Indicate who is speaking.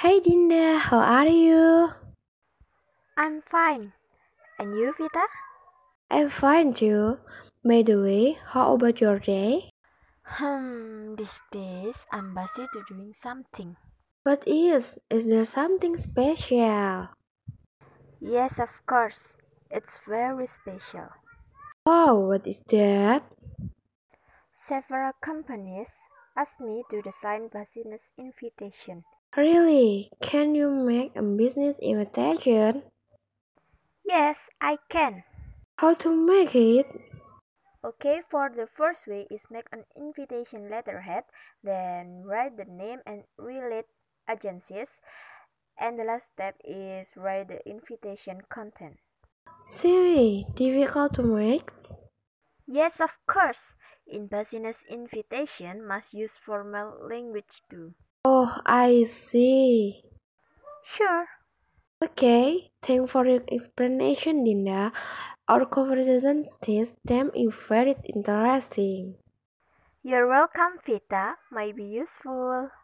Speaker 1: Hey Dinda, how are you?
Speaker 2: I'm fine. And you, Vita?
Speaker 1: I'm fine too. By the way, how about your day?
Speaker 2: Hmm, these days I'm busy to doing something.
Speaker 1: What is? Is there something special?
Speaker 2: Yes, of course. It's very special.
Speaker 1: Oh, what is that?
Speaker 2: Several companies asked me to design business invitation.
Speaker 1: Really? Can you make a business invitation?
Speaker 2: Yes, I can.
Speaker 1: How to make it?
Speaker 2: Okay, for the first way is make an invitation letterhead, then write the name and relate agencies, and the last step is write the invitation content.
Speaker 1: Silly, difficult to make.
Speaker 2: Yes, of course. In business invitation must use formal language too.
Speaker 1: Oh, I see.
Speaker 2: Sure.
Speaker 1: Okay, thanks for your explanation, Dinda. Our conversation this time is very interesting.
Speaker 2: You're welcome, Vita. Might be useful.